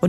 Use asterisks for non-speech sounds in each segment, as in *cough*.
och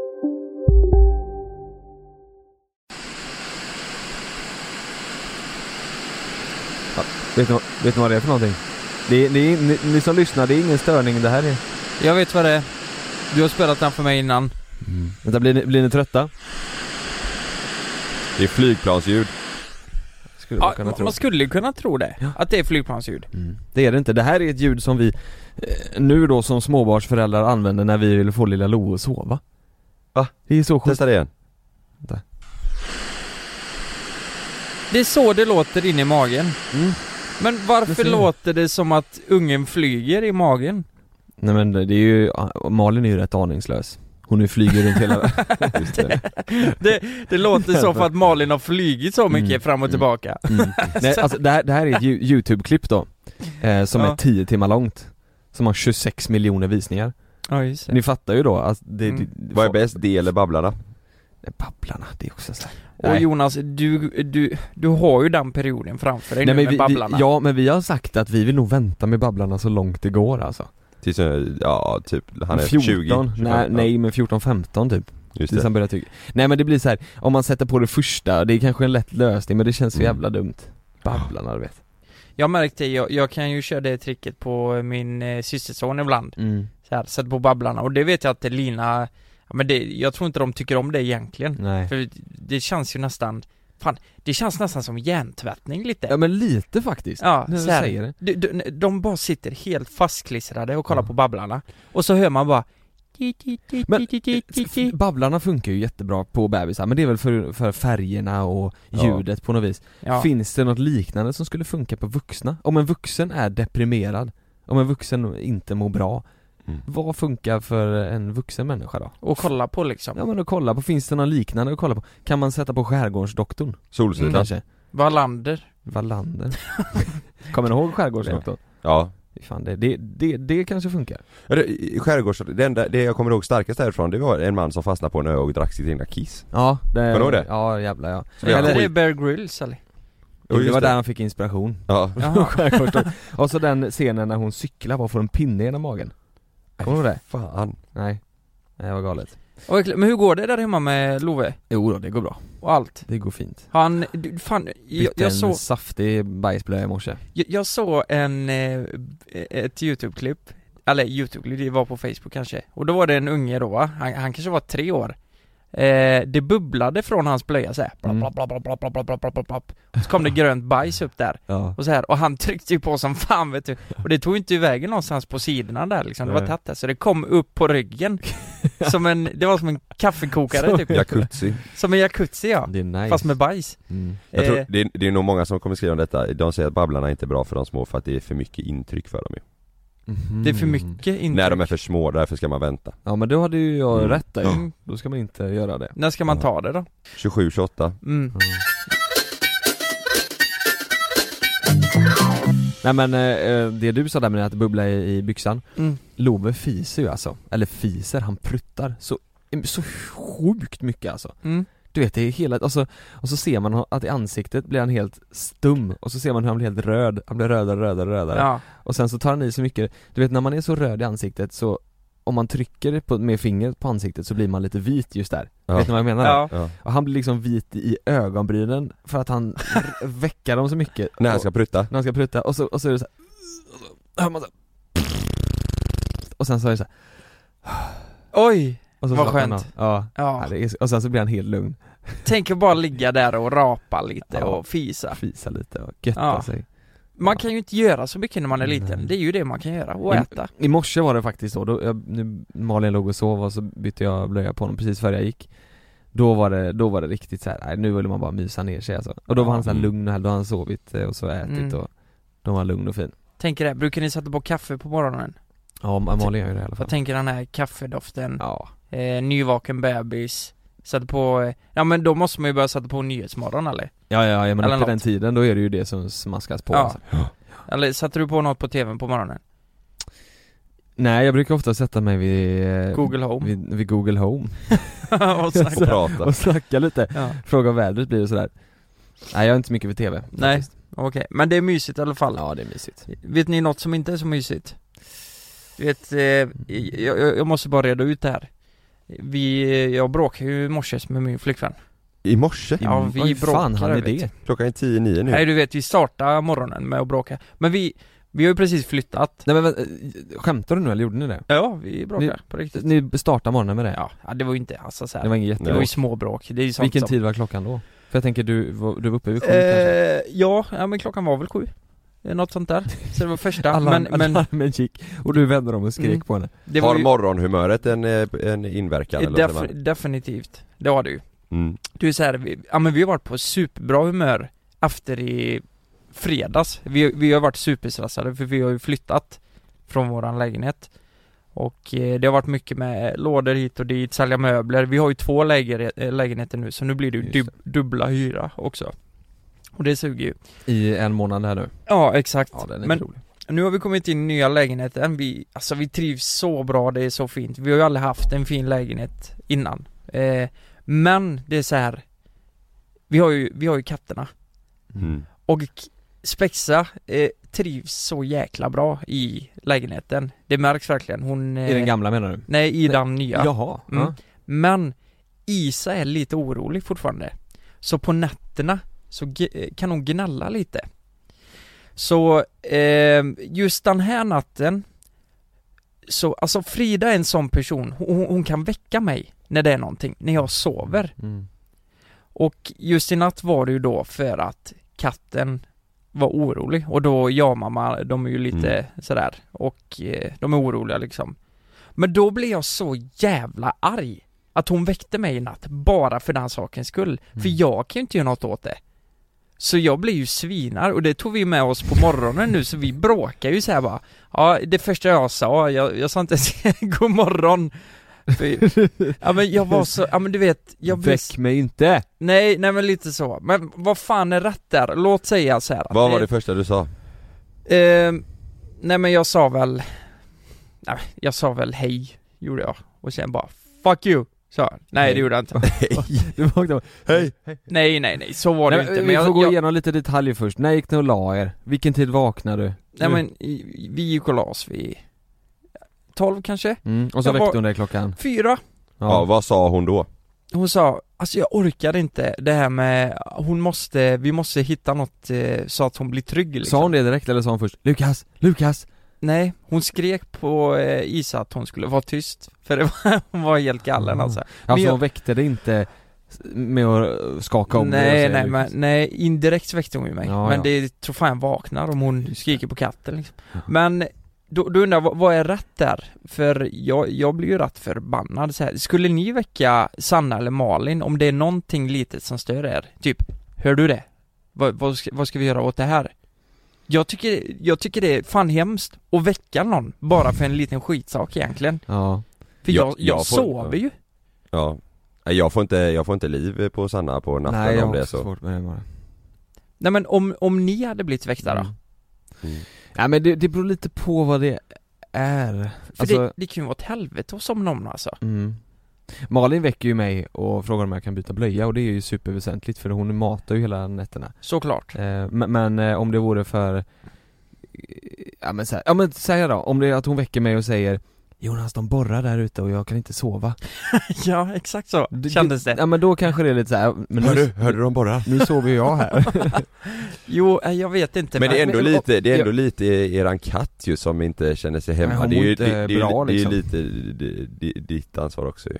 Vet ni, vad- vet ni vad det är för någonting? Det, är- det är, ni, ni som lyssnar, det är ingen störning det här är. Jag vet vad det är. Du har spelat den för mig innan. Vänta, blir ni, blir ni trötta? Det är flygplansljud. Skulle Ah, man Ja, kunna tro. man skulle kunna tro det. Ja. Att det är flygplansljud. Mm. Det är det inte. Det här är ett ljud som vi eh, nu då som småbarnsföräldrar använder när vi vill få lilla Lo att sova. Va? Det är så sjukt. Testa det igen. Det är så det låter in i magen. Mm. Men Det varför ser jag. låter det som att ungen flyger i magen? Nej men det är ju, Malin är ju rätt aningslös. Hon nu flyger runt *laughs* hela... Just det. Det låter så för att Malin har flygit så mycket Mm, fram och mm. tillbaka. *laughs* Mm. Nej, alltså, det, här, det här är ett Yo- YouTube-klipp då, eh, som Ja. är 10 timmar långt. Som har 26 miljoner visningar. Ja, just det. Ni fattar ju då att det, Mm. det, Vad är bäst, det eller Babblarna? Nej, Babblarna, det är också så här. Och Nej. Jonas, du, du, du har ju den perioden framför dig Nej, nu men med vi, Babblarna. vi, ja men vi har sagt att vi vill nog vänta med Babblarna så långt det går alltså. Tills, eh, ja typ, han är 20, 25, nej, ja. nej men 14-15 typ, tills Just det. han börjar tycka Nej men det blir så här, om man sätter på det första, det är kanske en lätt lösning men det känns så Mm. jävla dumt Babblarna du vet Jag märkte, jag, jag kan ju köra det tricket på min eh, systerson ibland. Mm. Så här, sätt på Babblarna. Och det vet jag att Lina, ja, men det, jag tror inte de tycker om det egentligen. Nej För det känns ju nästan, fan, det känns nästan som hjärntvättning lite. Ja men lite faktiskt, Ja, när du så här. säger det Du, du, de bara sitter helt fastklistrade och kollar Ja. på Babblarna och så hör man bara Men- Eh, Babblarna funkar ju jättebra på bebisar men det är väl för, för färgerna och Ja. ljudet på något vis ja. Finns det något liknande som skulle funka på vuxna? Om en vuxen är deprimerad, om en vuxen inte mår bra Mm. Vad funkar för en vuxen människa då? och kolla på liksom. Ja men då kolla på, finns det någon liknande att kolla på? Kan man sätta på Skärgårdsdoktorn? Solsidan. Mm. Kanske? Wallander. *laughs* Wallander? Kommer ni ihåg Skärgårdsdoktorn? Ja. Fy Fan, det, det, det, det kanske funkar. Eller, i- i Skärgårds, det enda, det jag kommer ihåg starkast därifrån det var en man som fastnade på en ö och drack sitt egna kiss. Ja, det... Kommer du ihåg det? Ja jävlar ja. Så Eller jag- är det Bear *laughs* Grylls eller? Jo, det just var det. där han fick inspiration. Ja. *laughs* Jaha. Skärgårdsdoktorn. Och så den scenen när hon cyklar bara får en pinne genom magen. Kommer du ihåg det? Fan. Nej. Nej det var galet. Och verkligen, Men hur går det där hemma med Love Jo då, det går bra. och allt? Det går fint. Han, du, fan, jag, Bytte jag, en såg, saftig bajsblöja i morse. jag, jag såg en, eh, ett YouTube-klipp, eller YouTube-klipp, det var på Facebook kanske, och då var det en unge då va, han, han kanske var tre år eh, Det bubblade från hans blöja såhär, Mm. så kom det grönt bajs upp där Ja. och så här, och han *laughs* tryckte ju på som fan vet du Och det tog ju inte iväg någonstans på sidorna där liksom, det var Nej. tätt där, så det kom upp på *laughs* ryggen Som en, det var som en kaffekokare typ Jacuzzi. Som en jacuzzi ja, Det är nice. fast med bajs mm. Jag tror, Eh, det, är, det är nog många som kommer skriva om detta, de säger att Babblarna är inte bra för de små för att det är för mycket intryck för dem ju. Mm. Det är för mycket intryck Mm. När de är för små, därför ska man vänta. Mhm. Ja men då hade ju jag Mm. rätt där ju. Mm. Då ska man inte göra det. När ska man ta det då? 27, 28. Mm. Nej men eh, eh, det du sa där med att bubbla i, i byxan Mm. Love fiser ju alltså, eller fiser, han pruttar så, så sjukt mycket alltså Mm. Du vet det är hela, alltså, och så ser man att i ansiktet blir han helt stum och så ser man hur han blir helt röd, han blir rödare, rödare, rödare Ja. Och sen så tar han i så mycket, du vet när man är så röd i ansiktet så om man trycker på, med fingret på ansiktet så blir man lite vit just där Ja. Vet ni vad jag menar? Ja. Ja. Och han blir liksom vit i ögonbrynen för att han r- väckar dem så mycket När han Och- ska prutta. när han ska prutta och så, och så är det så här, och så hör man så här, och sen så är det så här, Oj! och så Vad slappnar han skönt. av. Ja, ja Ja. det är, så- och sen så blir han helt lugn Tänk att bara ligga där och rapa lite Ja. och fisa Fisa lite och götta Ja. sig Man kan ju inte göra så mycket när man är liten, Nej. det är ju det man kan göra, och Men- äta I morse var det faktiskt så, då, jag, nu Malin låg och sov och så bytte jag blöja på honom precis före jag gick Då var det, då var det riktigt så här, nej, nu ville man bara mysa ner sig alltså. Och då var han så här Mm. lugn och här, då har han sovit eh, och så ätit Mm. och då var han lugn och fin Tänk er det, brukar ni sätta på kaffe på morgonen? Ja, Ma- Malin gör ju det i alla fall Jag tänker den här kaffedoften, Ja, eh, nyvaken bebis Sätta på, eh, ja men då måste man ju börja sätta på Nyhetsmorgon eller? ja, ja, ja men Eller upp till något. den tiden då är det ju det som smaskas på Ja. alltså. Eller sätter du på något på tvn på morgonen? Nej jag brukar ofta sätta mig vid eh, Google Home? vid, vid Google Home *laughs* *laughs* och och snacka. prata och snacka lite, Ja, fråga om vädret blir och sådär Nej jag är inte så mycket för TV Nej. faktiskt. okej, men det är mysigt i alla fall Ja det är mysigt Vet ni något som inte är så mysigt? Du vet, eh, jag, jag, jag måste bara reda ut det här Vi, eh, jag bråkade ju i morse med min flickvän I morse? Ja, vi Oj, fan, bråkar, han är jag vet. det? Klockan är tio, nio nu Nej du vet, vi startar morgonen med att bråka Men vi, vi har ju precis flyttat Nej men vänta, skämtar du nu eller gjorde ni det? Ja, vi bråkar Ni- på riktigt Ni startar morgonen med det? ja, ja, det var ju inte alltså så här. Det var inget Det var ju jättebra. småbråk, det är ju sånt Vilken som... tid var klockan då? För jag tänker du, var- du var uppe vid sju kanske? Eh, ja, ja, men klockan var väl sju Eh, Något sånt där, så det var *laughs* första, Alla, men, men alarmen gick och du vände dem och skrek Mm. på henne det Har var ju morgonhumöret en, eh, en inverkan eller vad def- säger man? definitivt, det har du mm. Du är så här, vi, ja men vi har varit på superbra humör efter i fredags. Vi, vi har varit superstressade för vi har ju flyttat från våran lägenhet. Och eh, det har varit mycket med lådor hit och dit, sälja möbler. Vi har ju två läger, eh, lägenheter nu så nu blir det ju Just dub, dubbla hyra också. Och det suger ju. I en månad här nu Ja exakt. Men rolig nu har vi kommit in i nya lägenheten. Vi, alltså vi trivs så bra, det är så fint. Vi har ju aldrig haft en fin lägenhet innan. Eh, men det är så här. Vi har ju, vi har ju katterna. Mm. Och k- Spexa eh, trivs så jäkla bra i lägenheten. Det märks verkligen. Hon... Eh, I den gamla menar du? Nej, i den nya. Jaha, Mm. ja. Men Isa är lite orolig fortfarande. Så på nätterna så g- eh, kan hon gnälla lite. Så eh, just den här natten så, alltså Frida är en sån person, hon, hon kan väcka mig när det är någonting, när jag sover. Mm. Och just i natt var det ju då för att katten var orolig och då jag och mamma, de är ju lite Mm. sådär och eh, de är oroliga liksom. Men då blev jag så jävla arg att hon väckte mig i natt bara för den sakens skull. För Mm. jag kan ju inte göra något åt det. Så jag blev ju svinar och det tog vi med oss på morgonen nu så vi bråkar ju så här bara Ja det första jag sa, jag, jag sa inte ens *laughs* god morgon. För, ja men jag var så, ja men du vet, jag blev Väck mig inte! Nej, nej men lite så. Men vad fan är rätt där? Låt säga så här. att Vad var det första du sa? Ehm, nej men jag sa väl... Nej, jag sa väl hej, gjorde jag. Och sen bara 'fuck you' sa jag. Nej det gjorde *laughs* jag inte. Du vaknade och bara, hej! Nej nej nej, så var det Nej, inte. vi Men jag, får gå jag, igenom lite detaljer först, när gick ni och la er? Vilken tid vaknade du? nej men i- vi gick och la oss vid 12 kanske? Mm. Och så Jag var- väckte hon dig klockan? Fyra. Ja, vad sa hon då? Hon sa, alltså jag orkar inte det här med, hon måste, vi måste hitta något eh, så att hon blir trygg liksom. Sa hon det direkt eller sa hon först 'Lukas, Lukas' Nej, hon skrek på eh, Isa att hon skulle vara tyst, för det var, *laughs* hon var helt gallen Ah. alltså Men Alltså jag- hon väckte dig inte med att eh, skaka om dig och Nej säga nej men, Lukas. nej indirekt väckte hon ju mig, Ja, men ja. det tror fan jag vaknar om hon skriker på katten liksom. Ja. Men då, då undrar jag, vad, vad är rätt där? För jag, jag blir ju rätt förbannad så här. Skulle ni väcka Sanna eller Malin om det är någonting litet som stör er? Typ, hör du det? Vad, vad, ska, vad ska vi göra åt det här? Jag tycker, jag tycker det är fan hemskt att väcka någon bara för en liten skitsak egentligen Ja, För Ja, jag, jag, jag får- sover ju Ja Nej, jag får inte, jag får inte liv på Sanna på natten nej jag om har det är också så svårt med det bara Nej men om, om ni hade blivit väckta då? Mm. Mm. Nej men det, det beror lite på vad det är För det, Alltså, det kan ju vara ett helvete att somna om alltså mm. Malin väcker ju mig och frågar om jag kan byta blöja och det är ju superväsentligt för hon matar ju hela nätterna Såklart eh, Men, men eh, om det vore för Ja men säg ja, men säg då, om det är att hon väcker mig och säger Jonas de borrar där ute och jag kan inte sova *laughs* Ja, exakt så Det- kändes det Ja men då kanske det är lite såhär, men Hör du, nu, hörde du de borrar? nu sover ju jag här Jo, eh, jag vet inte Men det är ändå men- lite, det är ändå Ja. lite eran katt ju som inte känner sig Nej, hemma hon Det är mår ju inte det, det, är ju- bra, det är ju liksom. lite d- d- ditt ansvar också ju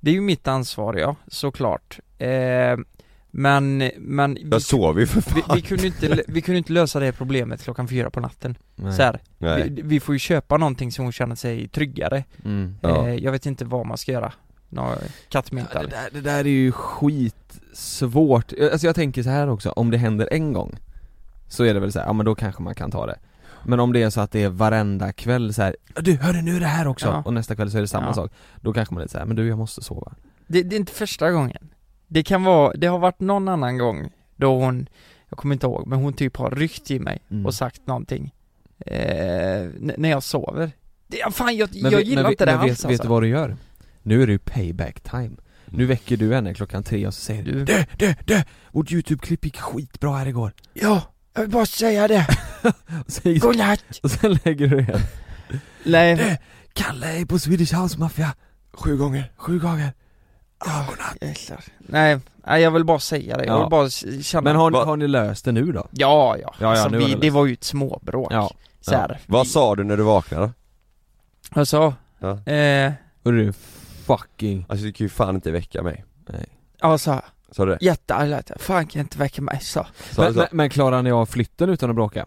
Det är ju mitt ansvar ja, såklart. Eh, men, men vi, Jag sov ju för vi, fan. vi, kunde inte, vi kunde inte lösa det problemet klockan fyra på natten. Nej. *laughs* Så här, Nej. vi, vi får ju köpa någonting så hon känner sig tryggare. Mm. Ja. Eh, jag vet inte vad man ska göra. Nå, kattmynt Ja, det, eller? där, det där är ju skitsvårt, alltså jag tänker så här också, om det händer en gång Så är det väl så här, ja men då kanske man kan ta det Men om det är så att det är varenda kväll så här, du hörru nu är det här också! Ja. Och nästa kväll så är det samma Ja. sak Då kanske man är lite så här, men du jag måste sova Det, det är inte första gången. Det kan vara, det har varit någon annan gång då hon, jag kommer inte ihåg, men hon typ har ryckt i mig Mm. och sagt någonting. Eh, n- när jag sover. Det, ja, fan jag, men, jag vi- gillar men, vi- inte det men alls alltså. Mm. vet, vet du vad du gör? Nu är det ju payback time Nu väcker du henne klockan tre och så säger du Du- Dö, dö, dö! Vårt youtube-klipp gick skitbra här igår *laughs* Ja, jag vill bara säga det. och sen, Godnatt! och sen lägger du igen Nej, Kalle är på Swedish House Mafia Sju gånger, sju gånger Ja, godnatt jäklar. Nej, nej, jag vill bara säga det. Jag Ja. vill bara s- känna... Men har, ni- Va- har ni löst det nu då? Ja, ja. ja, alltså, nu är vi, det det löst. var ju ett småbråk. Ja. Så här. Vad sa du när du vaknade? Jag sa, Ja. eh, Och du fucking... Alltså du kan ju fan inte väcka mig. jag sa Sa du det? jättearg. Fan kan jag inte väcka mig? Så. Sa du Men, så? men, men klarade ni av flytten utan att bråka?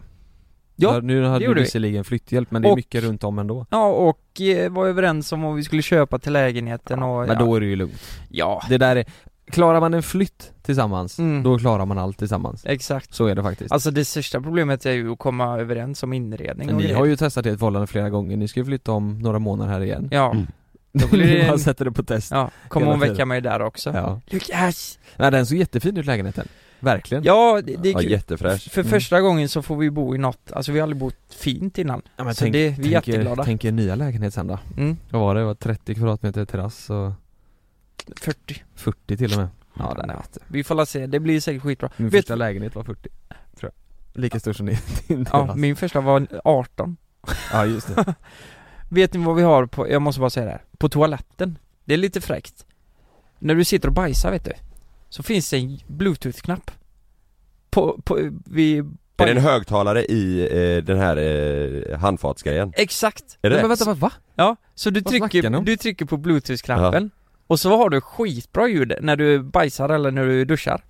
Ja, För Nu hade gjorde du vi. visserligen flytthjälp men det är Och- mycket runt om ändå Ja och eh, var överens om vad vi skulle köpa till lägenheten och Men då är det ju lugnt ja, Det där är... Klarar man en flytt tillsammans, Mm. då klarar man allt tillsammans ja exakt Så är det faktiskt Alltså det största problemet är ju att komma överens om inredning Men och Ni grejer. har ju testat ert förhållande flera gånger, ni ska ju flytta om några månader här igen Ja, Mm. då blir *laughs* det Ni bara en... sätter det på test Ja, kommer hela hon väcka tiden. mig där också? Ja. Lukas! Nej den såg jättefin ut lägenheten, verkligen Ja, det, det är Ja, kul. jättefräsch. För Mm. första gången så får vi bo i något, alltså vi har aldrig bott fint innan Ja, men Så det- vi är tänk, er- jätteglada. Tänk er nya lägenhet sen då. Mm, Vad var det? Det var 30 kvadratmeter terrass och 40 40 till och med. Ja typ. den är vatten. Vi får la se, det blir säkert skitbra Min Vet- första lägenhet var 40, tror jag. Lika stor som din, *laughs* din terrass. Ja, min första var 18 ja just *laughs* det. Vet ni vad vi har på, jag måste bara säga det här, på toaletten? Det är lite fräckt När du sitter och bajsar vet du Så finns det en bluetooth-knapp På, på, vid Är det en högtalare i eh, den här eh, handfatsgrejen? Exakt! Är det Men det? vänta, vad? va? Ja, så du Vad snackar ni trycker, om? du trycker på bluetooth-knappen Och så har du skitbra ljud när du bajsar eller när du duschar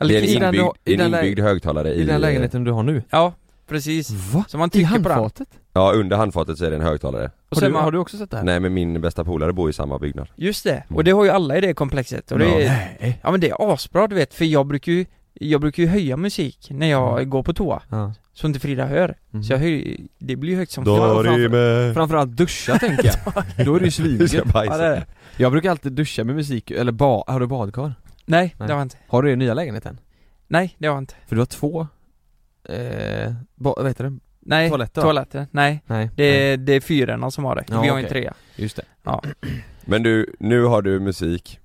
Eller Det är en kissar. den- inbyggd, i en den lä- inbyggd högtalare I i... den här eh, lägenheten du har nu? Ja, precis Va? Så man Mm. I trycker på den handfatet? Ja, under handfatet så är det en högtalare. och Har så är du, man, har du också sett det här? Nej men min bästa polare bor i samma byggnad. Just det, Mm. och det har ju alla i det komplexet och det Ja. är, Ja men det är asbra du vet, för jag brukar ju Jag brukar ju höja musik när jag Mm. går på toa Ja. Så inte Frida hör Mm. Så jag höj, det blir ju högt som fan Dorime! Framförallt duscha tänker *laughs* jag. Då är *laughs* det ju Du ska svinget. ja, det är bajsa. det. Jag brukar alltid duscha med musik, eller ba, har du badkar? Nej, Nej. det har jag inte Har du det i nya lägenheten? Nej, det har jag inte För du har två, eh, ba, vad heter det? Nej, Toaletter, va? toaletter. Nej, Nej. det Nej. är, det är fyrorna som har det, Ja, vi har ju en okej. trea Just det. Men du, nu har du musik.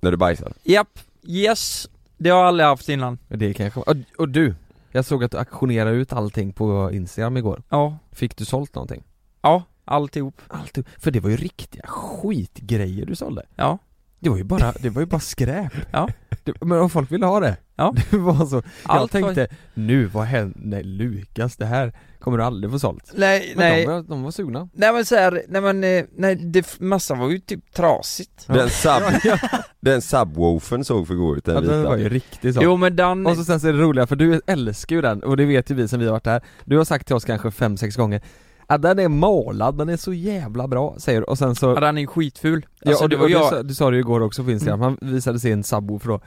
När du bajsar. Japp, yes Det har jag aldrig haft innan Men Det kanske och, och du, jag såg att du auktionerade ut allting på Instagram igår Ja, Fick du sålt någonting? ja, alltihop Allt, för det var ju riktiga skitgrejer du sålde Ja, Det var ju bara, det var ju bara skräp Ja. det, Men om folk ville ha det Ja. *laughs* Det var så, jag allt var- tänkte, nu vad hände, Lukas det här kommer du aldrig få sålt Nej, Men nej de, var- de var sugna Nej men såhär, nej men, eh, nej det, massa var ju typ trasigt Den, sub, *laughs* den subwoofern såg för god ut, den ja, vita. Det var ju riktigt sålt Jo men den, Och så sen så är det roliga, för du älskar ju den, och det vet ju vi som vi har varit här Du har sagt till oss kanske fem sex gånger att den är målad, den är så jävla bra, säger du, och sen så ja, den är ju skitful Ja, Alltså, och du, det var och du, jag- sa, du sa det ju igår också på Instagram, Mm. han visade sig en subwoofer då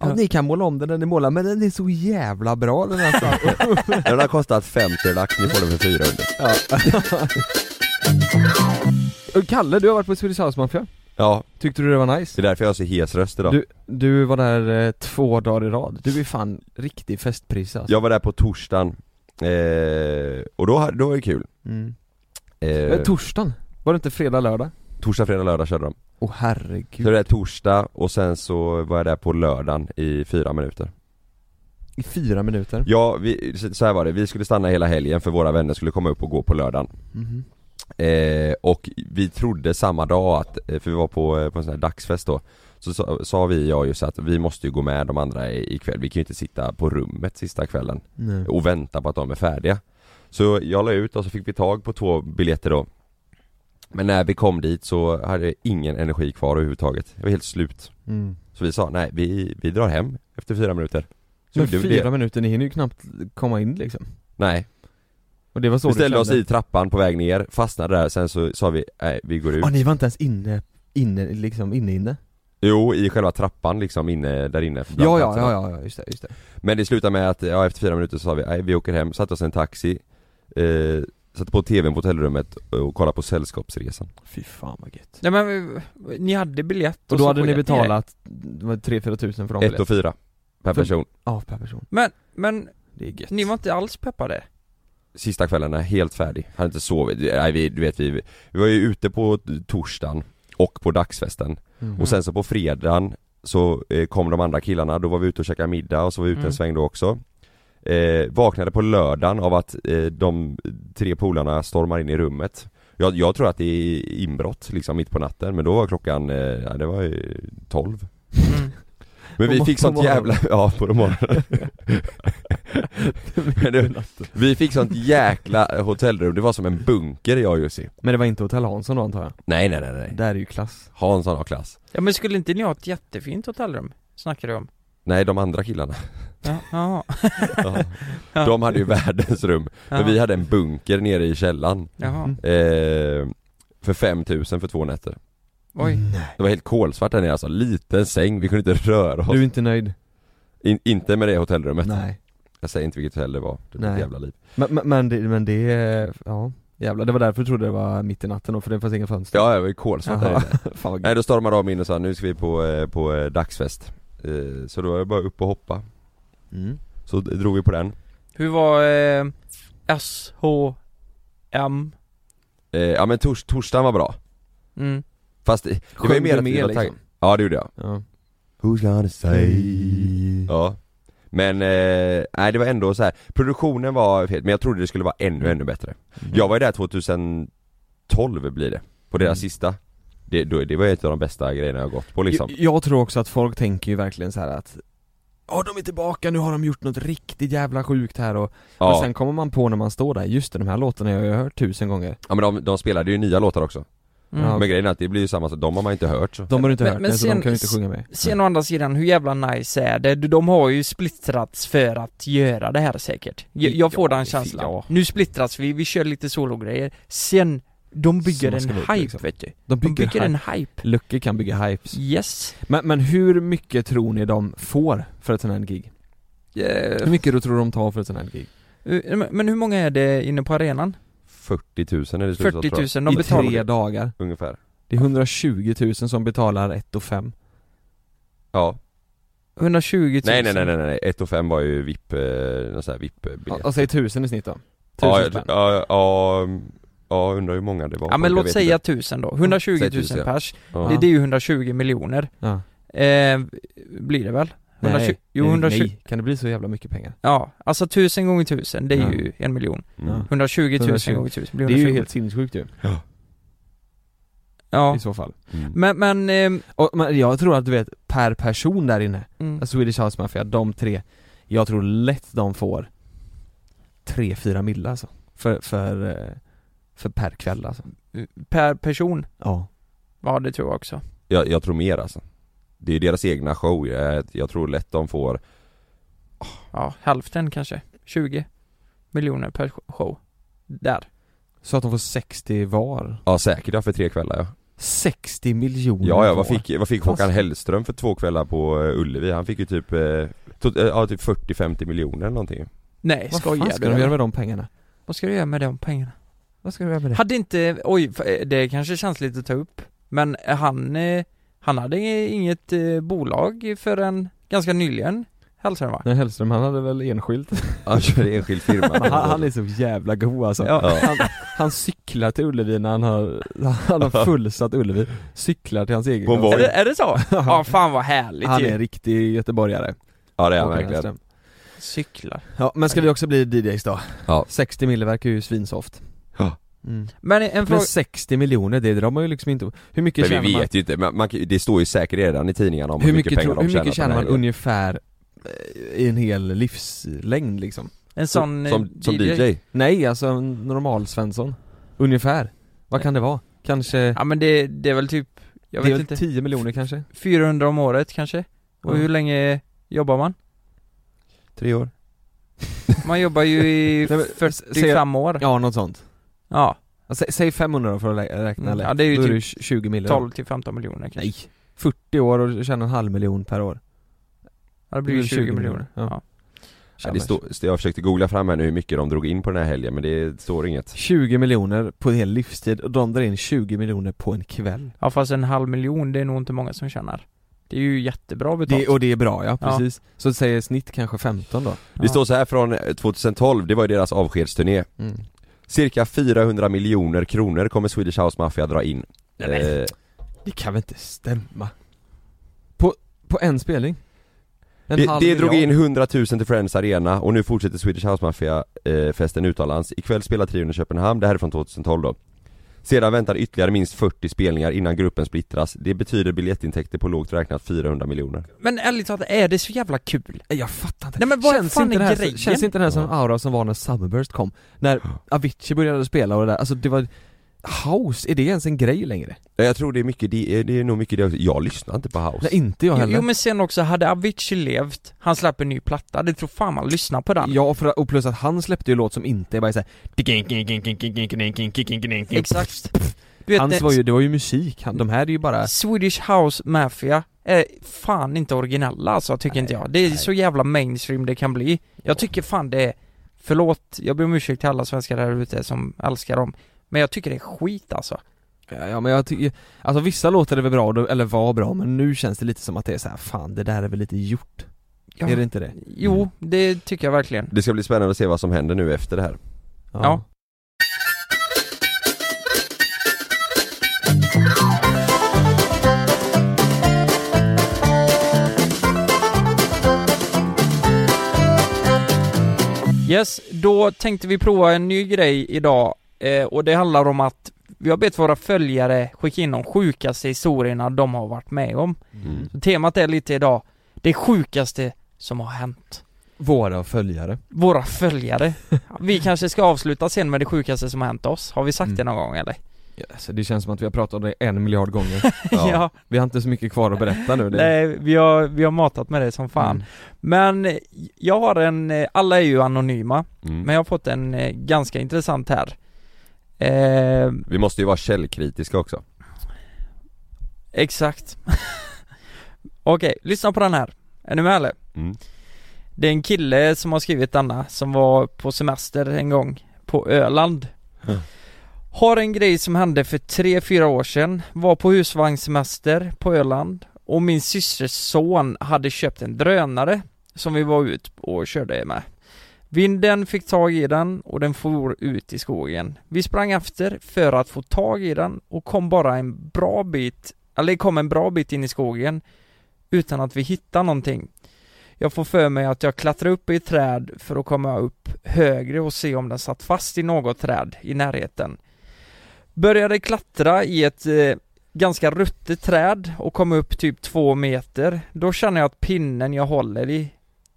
Ja, Ja. ni kan måla om den, den är målad, men den är så jävla bra den här *laughs* subwoofern. Den har kostat 50 lax, nu får den för 400. Och Kalle, du har varit på Swedish House Mafia, Ja, tyckte du det var nice? det är därför jag har så hes röst idag. Du, du var där eh, två dagar i rad, du är fan riktig festpris alltså. Jag var där på torsdagen. Eh, och då, hade- då var det kul. mm. Eh, Men torsdagen, var det inte fredag, lördag? torsdag, fredag, lördag körde de. Åh Så det herregud, var torsdag och sen så var jag där på lördagen i fyra minuter. i fyra minuter Ja, vi, så- så här var det. Vi skulle stanna hela helgen för våra vänner skulle komma upp och gå på lördagen. Mhm. Eh, och vi trodde samma dag att, eh, för vi var på, eh, på en sån här dagsfest då Så sa, sa vi jag just att vi måste ju gå med de andra i- ikväll, vi kan ju inte sitta på rummet sista kvällen Nej. och vänta på att de är färdiga Så jag la ut och så fick vi tag på två biljetter då Men när vi kom dit så hade jag ingen energi kvar överhuvudtaget, jag var helt slut Mm. Så vi sa nej, vi, vi drar hem efter fyra minuter Så Men gjorde vi fyra det. minuter, ni hinner ju knappt komma in liksom. Nej, Och det var så vi du ställde oss kände. i trappan på väg ner, fastnade där, sen så sa vi nej, vi går ut Ja, ni var inte ens inne, inne, liksom inne inne? Jo, i själva trappan liksom inne, där inne bland Ja, ja, platserna. ja, ja, ja, just det, just det. Men det slutade med att, ja, efter fyra minuter så sa vi, nej vi åker hem, satte oss i en taxi eh, Satte på tvn på hotellrummet och kollade på Sällskapsresan Fy fan vad gött. Nej men, eh, ni hade biljett och, Och då så hade ni sket i det. betalat 3-4 tusen för dem Ett och fyra per För- person Ja, per person. Men, men Det är gött. ni var inte alls peppade? Sista kvällen, är helt färdig, hade inte sovit, nej vi, du vet vi, vi var ju ute på torsdagen och på dagsfesten Mm. Och sen så på fredagen så eh, kom de andra killarna, då var vi ute och käkade middag och så var vi ute Mm. en sväng då också eh, Vaknade på lördagen av att eh, de tre polarna stormar in i rummet jag, jag tror att det är inbrott liksom mitt på natten men då var klockan, eh, ja, det var eh, 12 Mm. Men På vi mor- fick på sånt morgonen. jävla, *laughs* ja på morgonen Men det- Vi fick sånt jäkla hotellrum, det var som en bunker jag och Jussi Men det var inte Hotell Hansson då antar jag? Nej nej nej nej, Där är ju klass. Hansson har klass Ja men skulle inte ni ha ett jättefint hotellrum? Snackar du om? Nej de andra killarna, Ja, *laughs* ja, ja. de hade ju världens rum ja. Men vi hade en bunker nere i källaren Jaha, Mm. eh, För 5000 för två nätter oj. Det var helt kolsvart där nere alltså, liten säng, vi kunde inte röra oss Du är inte nöjd? In, Inte med det hotellrummet Nej. Jag säger inte vilket hotell det var, det var ett Nej. jävla liv Men, men, men, det, men det, ja jävlar. Det var därför du trodde det var mitt i natten och för det fanns inga fönster. Ja, det var ju kolsvart där Jaha. inne Fan vad gött. Nej då stormade de in och sa nu ska vi på, eh, på eh, dagsfest eh, Så då var det bara upp och hoppa Mm. Så d- drog vi på den Hur var eh, SHM? eh, Ja men tors, torsdagen var bra Mm. Fast det, det var ju Sjöng mer du att vi med, var tag- liksom? Ja det gjorde jag Ja. Who's gonna Ja Men, eh, nej det var ändå så här. produktionen var fet, men jag trodde det skulle vara ännu, ännu bättre Jag var ju där 2012 blir det, på deras Mm. sista det, då, det var ju ett av de bästa grejerna jag har gått på liksom Jag, jag tror också att folk tänker ju verkligen så här att Ja de är tillbaka, nu har de gjort något riktigt jävla sjukt här och, och Ja, sen kommer man på när man står där, just det, de här låtarna har jag hört tusen gånger ja men de, de spelade ju nya låtar också Mm. Ja. Men grejen är att det blir ju samma sak, de har man inte hört så De har du inte Men- hört, men men, så de sen- kan ju inte sjunga med Sen å andra sidan, hur jävla nice är det? Du, De har ju splittrats för att göra det här säkert. Jag, jag får Ja, den känslan. ja. Nu splittras vi, vi kör lite sologrejer. Sen, de bygger man en ska vara hype ute, liksom. vet du. De De bygger, bygger hype. en hype. Lucke kan bygga hypes Yes. men, men hur mycket tror ni de får för ett sånt här gig? Hur mycket du tror de tar för ett sånt här gig? Eh, men- Men hur många är det inne på arenan? 40 000 är det slutet, 40 tror jag, 000, de I betalar tre dagar ungefär Det är 120 000 som betalar 1 5 Ja, 120 000 nej nej nej nej, nej. 1 och 5 var ju VIP, eh, någon sån här VIP-biljett Och säg 1000 i snitt då? 1000 Ja, jag- spänn. ja, ja, ja, undrar hur många det var Ja men Jag låt vet säga inte. 1000 då, 120 000 Säg tusen, ja. pers, Ja. det, det är ju 120 miljoner ja. eh, Blir det väl? 120, Nej, jo, nej, 120, nej, kan det bli så jävla mycket pengar? Ja, alltså 1000 gånger 1000 det är Ja. ju en miljon Mm. 120 000 120. gånger 1000 Det blir är ju 120 helt sinnessjukt ju, Ja, i så fall Mm. men, men ehm, Och, men jag tror att du vet, per person där inne, mm, Swedish House Mafia, de tre Jag tror lätt de får 3-4 mille alltså för, för, eh, för per kväll alltså per person, Ja ja det tror jag också Jag, jag tror mer alltså Det är ju deras egna show, jag, jag tror lätt de får Ja, hälften kanske, 20 miljoner per show Där Så att de får 60 var Ja säkert ja, för tre kvällar ja 60 miljoner Ja ja, vad var. fick, vad fick Håkan Hellström för två kvällar på eh, Ullevi? Han fick ju typ, eh, to- eh, ja typ 40-50 miljoner eller någonting Nej, Vad skojar fan du? ska de göra eller? med de pengarna? Vad ska du göra med de pengarna? Vad ska de göra med det? Hade inte, oj, f- eh, det kanske känns lite att ta upp Men han, eh, han hade inget eh, bolag förrän ganska nyligen Hälsade han va? Nej Hellström han hade väl enskilt? Han körde enskild *laughs* firma *laughs* Han, han är så jävla god alltså Ja. han, han cyklar till Ullevi när han har, han har fullsatt Ullevi Cyklar till hans egen På en klass. Oj. Är det, är *laughs* det så? Ja fan vad härligt Han är ju en riktig göteborgare Ja det är han Håkan verkligen Hellström. Cyklar Ja men ska vi också bli DJs då? Ja. 60 mille verkar ju svinsoft Ja. mm. Men en Men fråga, 60 miljoner, det drar man ju liksom inte Hur mycket Men tjänar vi man? vet ju inte, man, man, kan- det står ju säkert redan i tidningarna om Hur mycket, pengar tror, hur de mycket tjänar tjänar på man den här grejen. ungefär eh, i en hel livslängd liksom? en sån eh, Som, som DJ? Nej alltså en normal Svensson Ungefär, vad kan det vara? Kanske, Ja men det, det är väl typ, jag det är vet väl inte, 10 miljoner kanske? 400 om året kanske? Och hur länge jobbar man? *laughs* Tre år? Man jobbar ju i Nej, men, säg- 45 år Ja, något sånt. Ja, Alltså, sä- säg 500 då för att lä- räkna Mm, lätt. ja, det är ju Då typ 20 miljoner. 12 till 15 miljoner kanske Nej. 40 år och tjäna en halv miljon per år. Ja, det blir ju 20, miljoner, miljoner, ja. ja. Ja, det står- jag försökte googla fram här nu hur mycket de drog in på den här helgen men det står inget 20 miljoner på en hel livstid och de drar in 20 miljoner på en kväll. ja fast en halv miljon, det är nog inte många som tjänar Det är ju jättebra betalt Det, och det är bra ja, Ja. precis. Så säger snitt kanske 15 då. Det står så här från 2012, det var ju deras avskedsturné Mm. Cirka 400 miljoner kronor kommer Swedish House Mafia dra in eh, Det kan väl inte stämma? På, på en spelning? En Det, halv det drog in miljard. 100 000 till Friends Arena och nu fortsätter Swedish House Mafia-festen utomlands. Ikväll spelar trion i Köpenhamn, det här är från 2012 då. Sedan väntar ytterligare minst 40 spelningar innan gruppen splittras. Det betyder biljettintäkter på lågt räknat 400 miljoner. Men ärligt talat, är det så jävla kul? Nej, Jag fattar inte. Nej, men vad känns, fan inte är det här, grejen? känns inte det här som en Ja. aura som var när Summerburst kom? *gasps* När Avicii började spela och det där, alltså det var House, är det ens en grej längre? Nej, Jag tror det är mycket, det är, det är nog mycket det också. Jag lyssnar inte på house. Nej, inte jag Jo, heller. jo men sen också, hade Avicii levt, han släpper en ny platta, det tror fan man lyssnar på den Ja, för, och plus att han släppte ju låt som inte är bara såhär Exakt Du vet, Hans det- var ju, det var ju musik, han, de här är ju bara Swedish House Mafia är fan inte originella alltså, tycker inte jag. Det är så jävla mainstream det kan bli. Jag tycker fan det är, förlåt, jag ber om ursäkt till alla svenskar där ute som älskar dem. Men jag tycker det är skit alltså. Ja ja, men jag tycker, alltså vissa låtar är väl bra, då- eller var bra, men nu känns det lite som att det är så här, fan det där är väl lite gjort? Ja. Är det inte det? Mm. Jo, det tycker jag verkligen. Det ska bli spännande att se vad som händer nu efter det här. Ja. Yes, då tänkte vi prova en ny grej idag eh, och det handlar om att vi har bett våra följare skicka in de sjukaste historierna de har varit med om. Mm. Temat är lite idag, det sjukaste som har hänt. Våra följare *laughs* Våra följare. Vi kanske ska avsluta sen med det sjukaste som har hänt oss. Har vi sagt Mm. det någon gång eller? ja, alltså, Det känns som att vi har pratat om det en miljard *laughs* gånger Ja. Vi har inte så mycket kvar att berätta nu det... Nej, vi har, vi har matat med det som fan. Mm. Men eh, jag har en, eh, alla är ju anonyma, Mm. men jag har fått en eh, ganska intressant här. Eh, Vi måste ju vara källkritiska också. exakt. *laughs* Okej, lyssna på den här. Är ni med eller? Mm. Det är en kille som har skrivit denna, som var på semester en gång på Öland Har en grej som hände för 3-4 år sedan, var på husvagnssemester på Öland och min systers son hade köpt en drönare som vi var ut och körde med Vinden fick tag i den och den for ut i skogen Vi sprang efter för att få tag i den och kom bara en bra bit, eller kom en bra bit in i skogen utan att vi hittade någonting jag får för mig att jag klättrar upp i ett träd för att komma upp högre och se om den satt fast i något träd i närheten. Började klättra i ett eh, ganska ruttet träd och kom upp typ två meter. Då känner jag att pinnen jag håller i,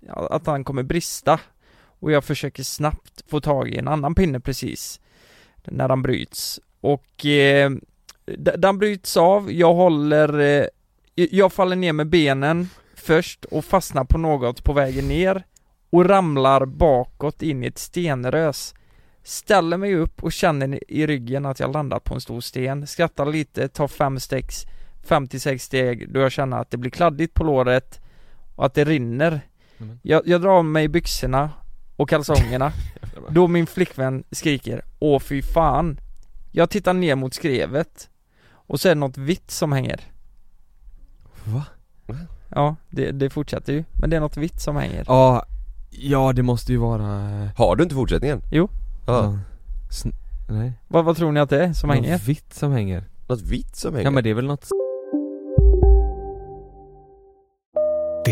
ja, att den kommer brista. Och jag försöker snabbt få tag i en annan pinne precis när den bryts. Och eh, d- den bryts av, jag håller, eh, jag faller ner med benen först och fastnar på något på vägen ner och ramlar bakåt in i ett stenrös. Ställer mig upp och känner i ryggen att jag landat på en stor sten, skrattar lite, tar fem stegs, fem till sex steg då jag känner att det blir kladdigt på låret och att det rinner. Nämen. Jag, jag drar av mig byxorna och kalsongerna då min flickvän skriker Åh fy fan Jag tittar ner mot skrevet och så är det något vitt som hänger Va? Ja, det, det fortsätter ju, men det är något vitt som hänger Ja, ja det måste ju vara... Har du inte fortsättningen? Jo. Ja. Sn- Nej, Vad, vad tror ni att det är som något hänger? vitt som hänger Något vitt som hänger? Ja men det är väl något Det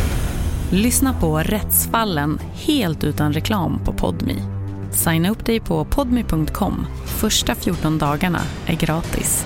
Lyssna på Rättsfallen helt utan reklam på Podmi. Signa upp dig på podmi.com. Första 14 dagarna är gratis.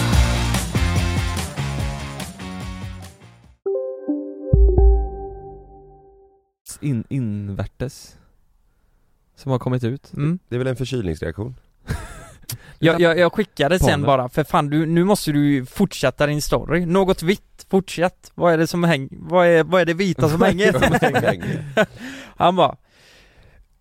in, invärtes Som har kommit ut Det är väl en förkylningsreaktion? Jag, jag, jag skickade sen Ponden. bara, för fan du, nu måste du ju fortsätta din story. Något vitt, fortsätt. Vad är det som hänger? Vad är, vad är det *laughs* vita som Vad *laughs* är det som hänger? hänger? *laughs* Han bara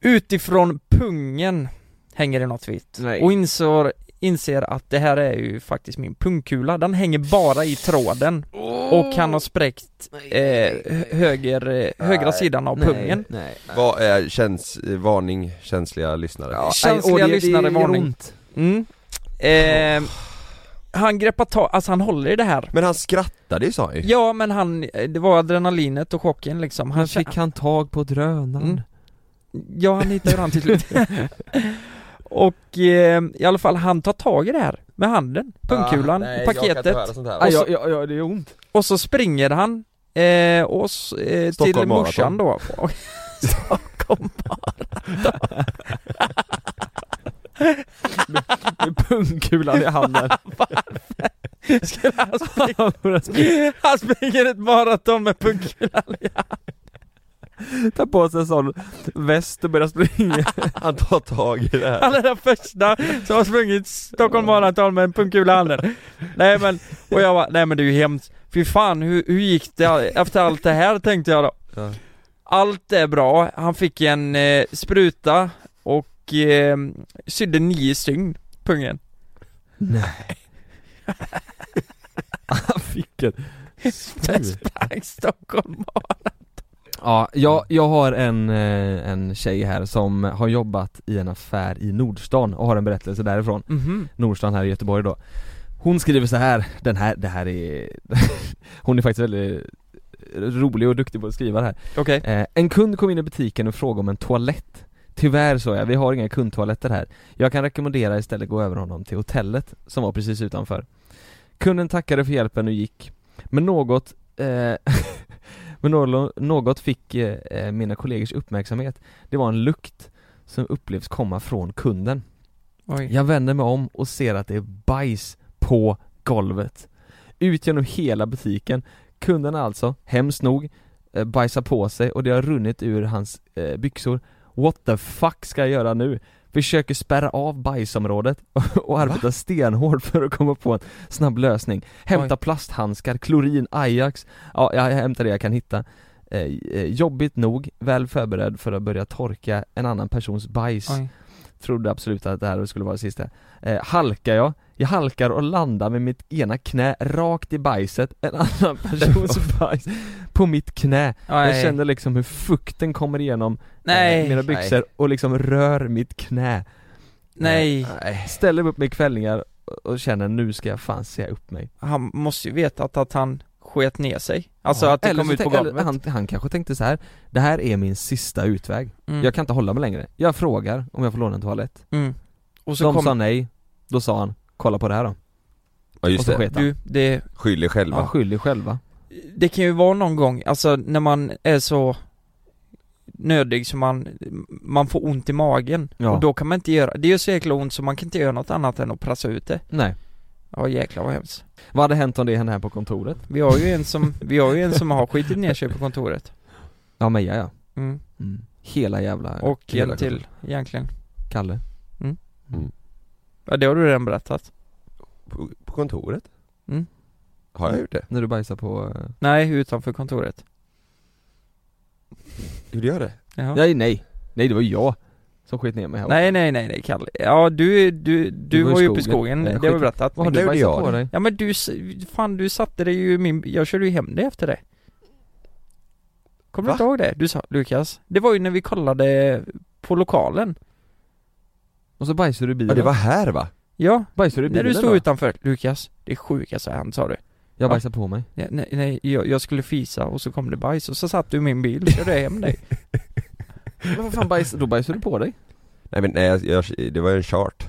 Utifrån pungen hänger det något vitt. Nej. Och insår, inser att det här är ju faktiskt min pungkula. Den hänger bara i tråden. Och han har spräckt eh, höger, eh, högra sidan av pungen. Nej. Vad är käns, eh, varning, känsliga lyssnare? Känsliga lyssnare, varning. Mm. Eh, han greppar tag, alltså han håller i det här. Men han skrattade ju sa han ju. Ja men han, det var adrenalinet och chocken liksom. Han fick han Mm. tag på drönaren? Ja han hittade den *laughs* till slut. och eh, i alla fall han tar tag i det här med handen, pungkulan, Ah, nej, jag kan inte paketet. höra sånt här. Och, så, Ah, ja, ja, ja, det gör ont. och så springer han eh, och, s- eh, till Stockholm morsan då. *laughs* Marathon. Och- Stockholm Marathon. Med, med pungkulan i handen *laughs* Varför? Skulle han springa? Han springer ett maraton med pungkulan i handen. Tar på sig en sån väst och börjar springa *laughs* Han tar tag i det Han är den första som har sprungit Stockholm Marathon med en pungkula i handen. Nej men, och jag bara, nej men det är ju hemskt. Fy fan, hur, hur gick det efter allt det här tänkte jag då. Ja. Allt är bra, han fick en eh, spruta och eh, sydde nio stygn, pungen. Nej Han *laughs* fick en Sen *laughs* sprang Stockholm Marathon. Ja, jag, jag har en, eh, en tjej här som har jobbat i en affär i Nordstan och har en berättelse därifrån Mhm. Nordstan här i Göteborg då Hon skriver så här, den här, det här är *laughs* Hon är faktiskt väldigt rolig och duktig på att skriva det här Okej eh, En kund kom in i butiken och frågade om en toalett Tyvärr sa jag, vi har inga kundtoaletter här Jag kan rekommendera istället gå över honom till hotellet som var precis utanför Kunden tackade för hjälpen och gick Men något eh, *laughs* Men nålo- något fick eh, eh, mina kollegors uppmärksamhet Det var en lukt som upplevs komma från kunden Oj. Jag vänder mig om och ser att det är bajs på golvet Ut genom hela butiken Kunden har alltså, hemskt nog, eh, bajsat på sig och det har runnit ur hans eh, byxor What the fuck ska jag göra nu? Försöker spärra av bajsområdet *laughs* och arbetar stenhårt för att komma på en snabb lösning Hämta plasthandskar, klorin, Ajax Ja, jag hämtar det jag kan hitta eh, eh, Jobbigt nog, väl förberedd för att börja torka en annan persons bajs Oj. Trodde absolut att det här skulle vara det sista eh, Halkar jag, jag halkar och landar med mitt ena knä rakt i bajset En *laughs* annan persons bajs på mitt knä Aj. Jag känner liksom hur fukten kommer igenom Nej. eh, mina byxor och liksom rör mitt knä Eh, Nej. Ställer mig upp med kvällningar och känner nu ska jag fan se upp mig Han måste ju veta att, att han sket ner sig. Alltså Ja, att det eller kom så ut på tänk- eller golvet. Han, han kanske tänkte så här. det här är min sista utväg Mm. Jag kan inte hålla mig längre, jag frågar om jag får låna en toalett Mm. Och så De kom- sa nej, då sa han, kolla på det här då Ja just Och så det. sket han. Du, det- Skyll er själva. Han skyller själva det kan ju vara någon gång, alltså när man är så nödig så man, man får ont i magen. Ja. Och då kan man inte göra, det gör så jäkla ont så man kan inte göra något annat än att pressa ut det. Nej Ja jäklar vad hemskt. Vad hade hänt om det hände här på kontoret? Vi har ju en som, vi har ju en som har skitit ner sig på kontoret. Ja Meja ja Mm. Hela jävla Och hela en till kontoret. egentligen. Kalle Mm. Ja, det har du redan berättat. På, på kontoret? Mm. Har jag gjort det? När du bajsar på... eh, Nej, utanför kontoret. Gjorde jag det? Jaha. Nej nej, nej det var ju jag som skit ner mig här Nej nej nej nej Kalle, ja du, du, du, var i var ju uppe i skogen. skogen, Nej, det har vi skit. berättat Vad har du bajsat på dig? Ja men du, s- fan du satte dig ju i min, jag körde ju hem dig efter det Kommer du inte ihåg det? Du sa, Lukas, det var ju när vi kollade på lokalen Och så bajsade du i bilen Ja det var här va? Ja, bajsade du i när bilen du stod då? utanför, Lukas, det är sjukaste han sa du Jag bajsade på mig. ja, Nej, nej jag, jag skulle fisa och så kom det bajs och så satt du i min bil och körde hem dig Men vad fan bajs, då bajsade du på dig? Nej men nej, jag, jag, det var ju en chart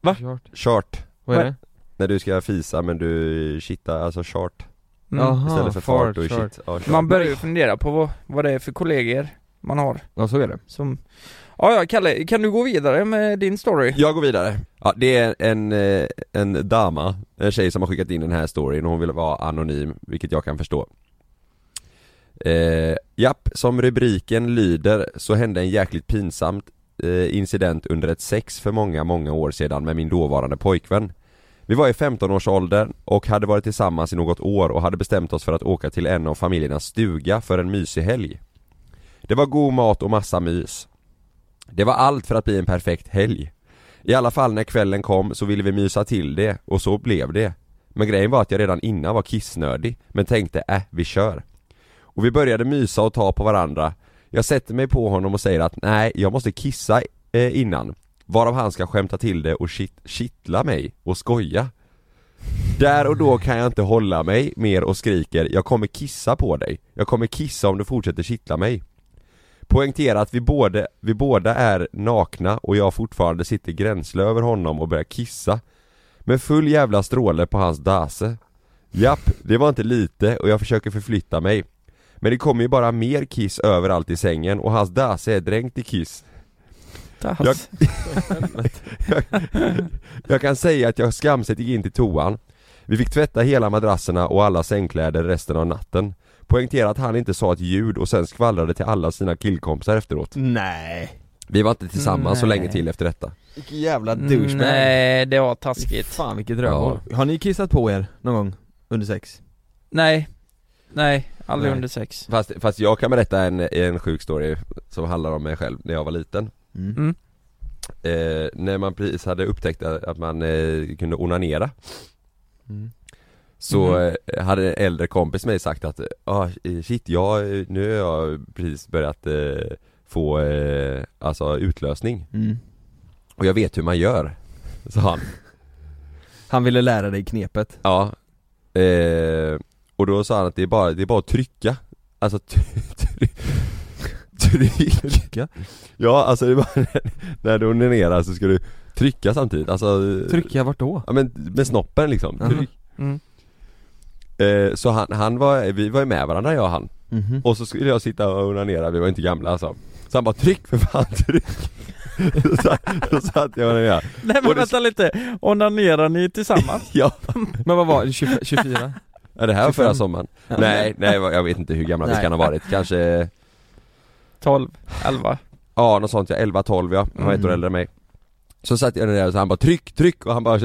Va? Chart Vad är det? När du ska fisa men du shittar, alltså chart Mm. Jaha, Istället för fart, och shit *laughs* Ja, chart. Man börjar ju fundera på vad, vad det är för kollegor man har Ja så är det Som... Ja, ja, Kalle, kan du gå vidare med din story? Jag går vidare. Ja, det är en, eh, en dama, en tjej som har skickat in den här storyn och hon vill vara anonym, vilket jag kan förstå. Eh, japp, som rubriken lyder så hände en jäkligt pinsamt eh, incident under ett sex för många, många år sedan med min dåvarande pojkvän. Vi var i 15-årsåldern och hade varit tillsammans i något år och hade bestämt oss för att åka till en av familjernas stuga för en mysig helg. Det var god mat och massa mys. Det var allt för att bli en perfekt helg. I alla fall när kvällen kom så ville vi mysa till det och så blev det. Men grejen var att jag redan innan var kissnödig men tänkte äh, vi kör. Och vi började mysa och ta på varandra. Jag sätter mig på honom och säger att nej, jag måste kissa eh, innan. Varav han ska skämta till det och kitt- kittla mig och skoja. Där och då kan jag inte hålla mig mer och skriker 'Jag kommer kissa på dig, jag kommer kissa om du fortsätter kittla mig' Poängtera att vi, både, vi båda är nakna och jag fortfarande sitter gränsle över honom och börjar kissa Med full jävla stråle på hans dase Japp, det var inte lite och jag försöker förflytta mig Men det kommer ju bara mer kiss överallt i sängen och hans dase är dränkt i kiss *laughs* jag, jag, jag kan säga att jag skamset gick in till toan Vi fick tvätta hela madrasserna och alla sängkläder resten av natten Poängtera att han inte sa ett ljud och sen skvallrade till alla sina killkompisar efteråt Nej Vi var inte tillsammans så Nej. länge till efter detta Vilken jävla douchebag Nej, det var taskigt Fan vilket rövhål Har ni kissat på er någon gång under sex? Nej, nej, aldrig Nej. under sex Fast, fast jag kan berätta en, en sjuk story som handlar om mig själv när jag var liten Mm. Mm. eh, När man precis hade upptäckt att att man eh, kunde onanera Mm. Så eh, hade en äldre kompis med mig sagt att ah, eh, shit, jag, eh, nu har jag precis börjat eh, få eh, alltså utlösning Mm. Och jag vet hur man gör, sa han Han ville lära dig knepet Ja eh, Och då sa han att det är bara, det är bara att trycka Alltså try, try, trycka? Ja alltså det är bara *laughs* när du onanerar så ska du trycka samtidigt, alltså Trycka vart då? Ja men med snoppen liksom Tryck. Mm. eh, Så han, han var, vi var ju med varandra jag och han Mhm. Och så skulle jag sitta och onanera, vi var inte gamla alltså Så han bara 'tryck för fan, tryck' *laughs* så, så satt jag och onanerade Nej men Och det- vänta lite, onanerar ni tillsammans? *laughs* Ja, Men vad var det? 25 24? Ja, det här var 25. förra sommaren *laughs* Nej, nej jag vet inte hur gamla vi Nej. kan ha varit, kanske 12, 11 Ja, något sånt ja, 11, 12 ja, han var ett år Mm. äldre än mig Så satt jag där och så han bara 'tryck, tryck' och han bara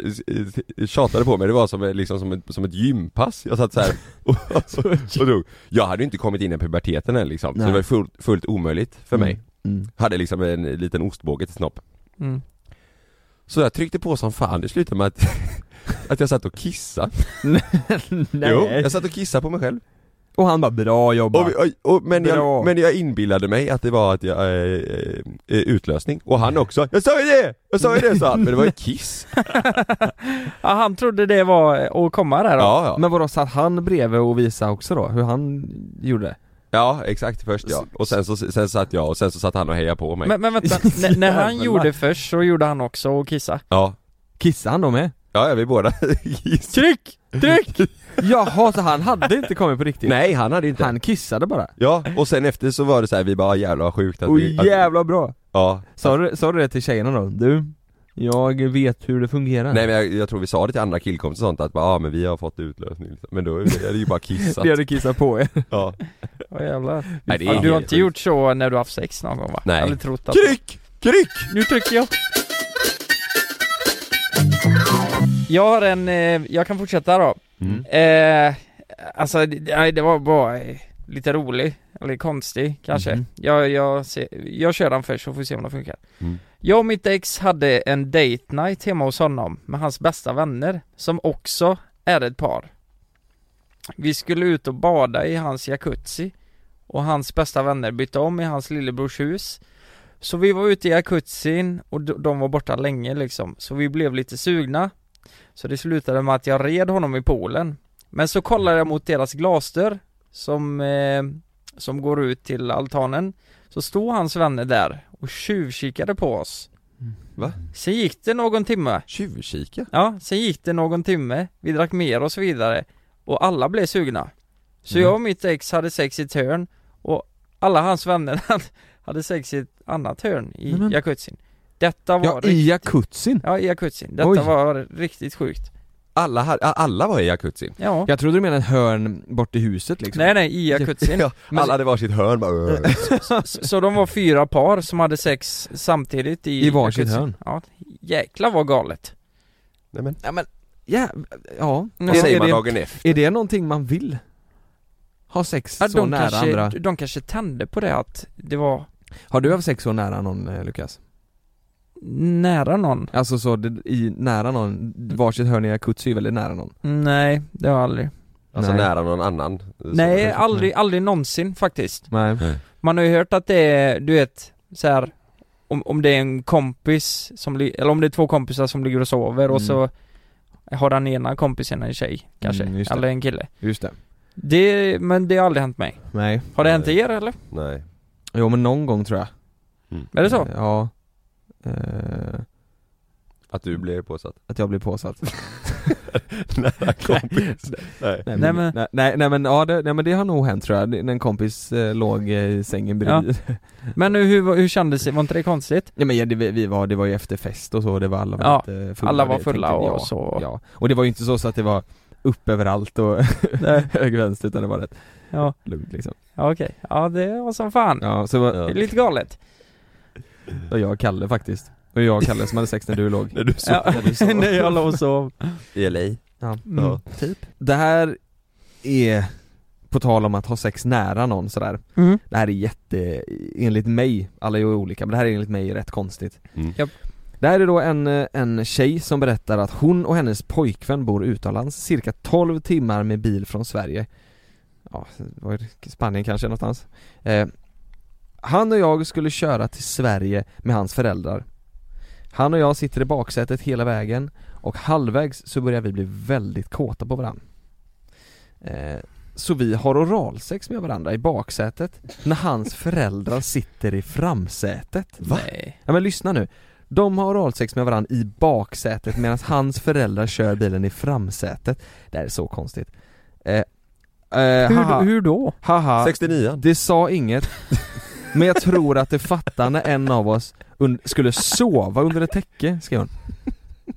tjatade på mig, det var som, liksom, som, ett, som ett gympass Jag satt så *laughs* här och, och, och drog Jag hade ju inte kommit in i puberteten än liksom, så Nej. det var ju fullt, fullt omöjligt för mig Mm. Hade liksom en liten ostbåge till snopp *laughs* Mm. Så jag tryckte på som fan, det slutade med att, *laughs* att jag satt och kissade Nej. Jo, jag satt och kissade på mig själv Och han bara 'bra jobbat' och, vi- och, och, men, Bra. jag, men jag inbillade mig att det var att jag, eh, eh, utlösning, och han också 'Jag sa ju det! Jag sa ju det!' sa han, men det var ju kiss Ja han trodde det var eh, att komma där då? Ja, ja. Men vadå, satt han bredvid och visade också då hur han gjorde? ja exakt först ja, och sen så, sen satt jag och sen så satt han och hejade på mig Men, men *laughs* vänta, N- när han Jävlar. gjorde först så gjorde han också och kissa Ja, Kissade han då med? ja, ja vi båda *laughs* kiss. Tryck! Tryck! *laughs* Jaha, så han hade inte kommit på riktigt? Nej han hade inte Han kissade bara? Ja, och sen efter så var det så här, vi bara "Ah, jävlar vad sjukt att Åh vi att, jävla bra! Ja, Sa du, sa du det till tjejerna då? Du, Jag vet hur det fungerar. Nej men jag, jag tror vi sa det till andra killkompisar och sånt att bara, ah, men vi har fått utlösning liksom. Men då är det är det ju bara kissat Det har du kissat på er. Ja Ja jävlar. Nej, det är Ja, du har helt inte gjort så när du har haft sex någon gång va? Nej. Jag har aldrig trott att... Kryck! Kryck! Nu trycker jag. Jag har en, eh, jag kan fortsätta då. Mm. Eh, alltså, det, nej, det var bara eh, lite rolig, eller konstig kanske. Mhm. Jag, jag, ser, jag kör den först så får vi se om den funkar. Mm. Jag och mitt ex hade en date night hemma hos honom med hans bästa vänner, som också är ett par. Vi skulle ut och bada i hans jacuzzi och hans bästa vänner bytte om i hans lillebrors hus. Så vi var ute i jacuzzin och d- de var borta länge liksom, så vi blev lite sugna. Så det slutade med att jag red honom i poolen. Men så kollade jag mot deras glasdörr som, eh, som går ut till altanen. Så stod hans vänner där och tjuvkikade på oss. Va? Sen gick det någon timme. Tjuvkika? Ja, sen gick det någon timme. Vi drack mer och så vidare. Och alla blev sugna. Så Mm. jag och mitt ex hade sex i ett hörn och alla hans vänner *laughs* hade sex i ett annat hörn i Nej, men- jacuzzin. Detta var Ja, i jacuzzin? Ja, i jacuzzin. Detta Oj. var riktigt sjukt. Alla, ha- alla var i jacuzzin? Ja. Jag trodde du menade ett hörn bort i huset liksom. Nej nej, i *laughs* jacuzzin. Ja, Men- Alla hade varsitt hörn bara, Så, så de var fyra par som hade sex samtidigt i I varsitt jacuzzin. hörn. Ja, jäklar vad galet. Nej men, ja, men ja, ja. Vad säger man dagen efter? Är det någonting man vill? Ha sex Ja, så de, nära kanske, andra? de kanske tände på det att det var Har du haft sex så nära någon eh, Lukas? nära någon. Alltså så det, i, nära någon, varsitt hörn i jacuzzi är väldigt nära någon? Nej, det har jag aldrig. alltså Nej. nära någon annan Nej, aldrig, aldrig någonsin faktiskt. Nej. Man har ju hört att det är, du vet, så här om, om det är en kompis som, li- eller om det är två kompisar som ligger och sover och Mm. så har den ena kompisen en tjej kanske, Mm, just det. eller en kille. Just det. Det, men det har aldrig hänt mig. Nej. Har det hänt er eller? *laughs* Nej Jo men någon gång tror jag. Är det så? Ja. Eh, Att du blev påsatt? att jag blev påsatt. *laughs* Nära kompis? Nej Nej *laughs* Nej, men, men- nej, nej, nej, men, ja, det, nej men det har nog hänt tror jag, Det- när en kompis eh, låg eh, i sängen bredvid Men nu, hur, hur kändes det? Var inte det konstigt? Nej men ja, det, vi vi var, det var ju efter fest och så, det var alla Ja, väldigt eh, fulla alla var Det fulla tänkte- ja, och så. Ja, och det var ju inte så, så att det var upp överallt och *laughs* Nej. höger vänster utan det var rätt Ja, lugnt liksom ja okej. Ja det var som fan. Ja, så det var Det är lite galet. det var jag och Kalle faktiskt, och jag och Kalle som hade sex när du *laughs* låg När du sov Ja, du sov. när *laughs* jag låg och sov. i LA? ja. Mm. Ja. typ Det här är, på tal om att ha sex nära någon sådär Mm. Det här är jätte, enligt mig, alla är ju olika, men det här är enligt mig rätt konstigt Mm. Japp. Det här är då en, eh, en tjej som berättar att hon och hennes pojkvän bor utomlands cirka 12 timmar med bil från Sverige Ja, det var i Spanien kanske någonstans eh, Han och jag skulle köra till Sverige med hans föräldrar Han och jag sitter i baksätet hela vägen och halvvägs så börjar vi bli väldigt kåta på varandra eh, så vi har oralsex med varandra i baksätet när hans föräldrar sitter i framsätet. Nej. Ja men lyssna nu. De har oralsex med varandra i baksätet medan hans föräldrar kör bilen i framsätet. Det här är så konstigt. Eh, eh, haha, Hur, hur då? haha, 69 det sa inget. Men jag tror att det fattar när en av oss un- skulle sova under ett täcke, skrev hon.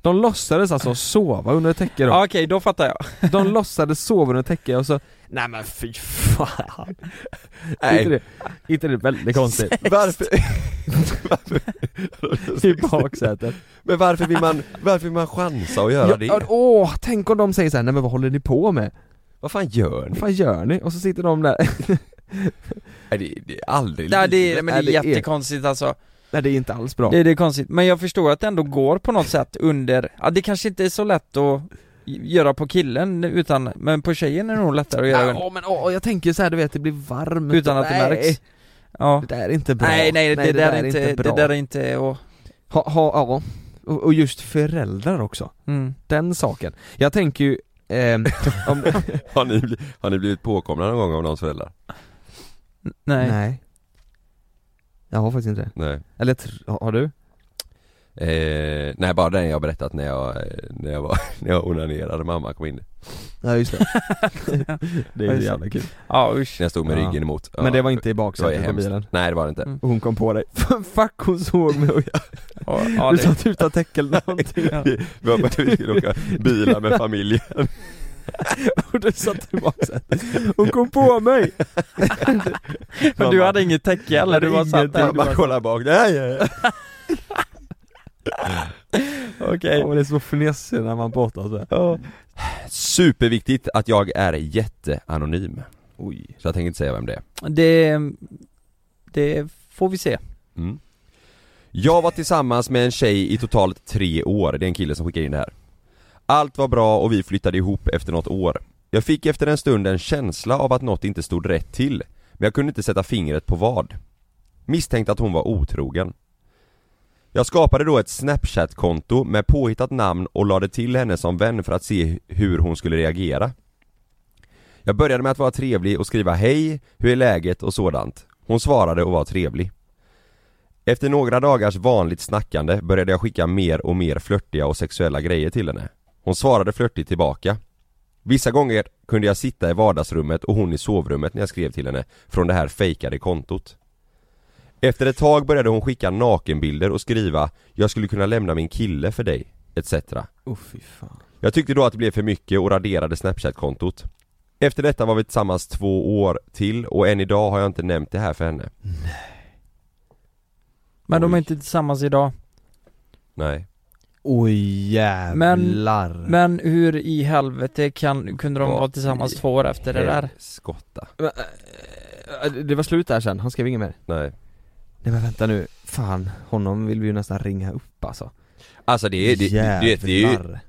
De låtsades alltså sova under ett täcke då. Ja, okej, då fattar jag. De låtsades sova under täcke och så Nej men fy fan! Nej. Inte, det, inte det väldigt konstigt? *laughs* *laughs* Varför? I baksätet Men varför vill man, varför vill man chansa och göra Ja, det? Åh, tänk om de säger såhär, nej men vad håller ni på med? Vad fan gör Vad ni? fan gör ni? Och så sitter de där *laughs* Nej, det, det är aldrig Nej, det, är- livet. men det är Ja, det är- jättekonstigt alltså. Nej det är inte alls bra Det, det är konstigt, men jag förstår att det ändå går på något sätt under, ja det kanske inte är så lätt att göra på killen utan, men på tjejen är det nog lättare att göra Ja, under, åh, men åh, jag tänker så här, du vet det blir varmt utan att det Nej, märks. Ja. Det där är inte bra Nej, nej, det, där är inte, det där är inte, och, ha, ha, ja. och, och just föräldrar också, mm. den saken Jag tänker ju, ehm, om, *laughs* Har ni, bli- har ni blivit påkomna någon gång av någons föräldrar? nej. *laughs* nej Jag har faktiskt inte det, Nej eller tr- har du? *laughs* eh, Nej bara den jag berättat när jag, eh, när jag var, när jag onanerade mamma kom in Ja just det. det är ju jävla kul. Ja usch. Jag stod med ryggen emot. *laughs* Ja, Men det var inte i det var baksätet ju på hemskt. bilen? Nej det var det inte. Och hon kom på *laughs* dig. Fuck hon såg mig och jag... ja, du det- sa att du utan täcke *laughs* eller någonting. *laughs* Vi- Vi var på att vi skulle åka bilar med *laughs* familjen. och *laughs* du satt i baksätet. *laughs* Hon kom på mig! Men du hade inget täcke eller? Du var satt där? Jag bara kollade bak, nej! *laughs* nej. Okej. Ja, men det är så fnissigt när man pratar så här. Superviktigt att jag är jätteanonym. Oj. Så jag tänker inte säga vem det är. Det, det får vi se. Mm. Jag var tillsammans med en tjej i totalt tre år, det är en kille som skickar in det här. Allt var bra och vi flyttade ihop efter något år. Jag fick efter en stund en känsla av att något inte stod rätt till, men jag kunde inte sätta fingret på vad. Misstänkte att hon var otrogen. Jag skapade då ett snapchat-konto med påhittat namn och lade till henne som vän för att se hur hon skulle reagera. Jag började med att vara trevlig och skriva hej, hur är läget och sådant. Hon svarade och var trevlig. Efter några dagars vanligt snackande började jag skicka mer och mer flörtiga och sexuella grejer till henne. Hon svarade flörtigt tillbaka. Vissa gånger kunde jag sitta i vardagsrummet och hon i sovrummet när jag skrev till henne från det här fejkade kontot. Efter ett tag började hon skicka nakenbilder och skriva 'Jag skulle kunna lämna min kille för dig' etc. Åh fy fan. Jag tyckte då att det blev för mycket och raderade snapchat-kontot. Efter detta var vi tillsammans två år till och än idag har jag inte nämnt det här för henne. Men de är inte tillsammans idag. Nej. Oj jävlar. Men, Men hur i helvete kan, kunde de Vad vara tillsammans i två år efter det där? Skotta. äh, det var slut där sen, han skrev inget mer. Nej. Nej men vänta nu, fan honom vill vi ju nästan ringa upp alltså. Alltså det är, det, det, det, det är ju Jävlar.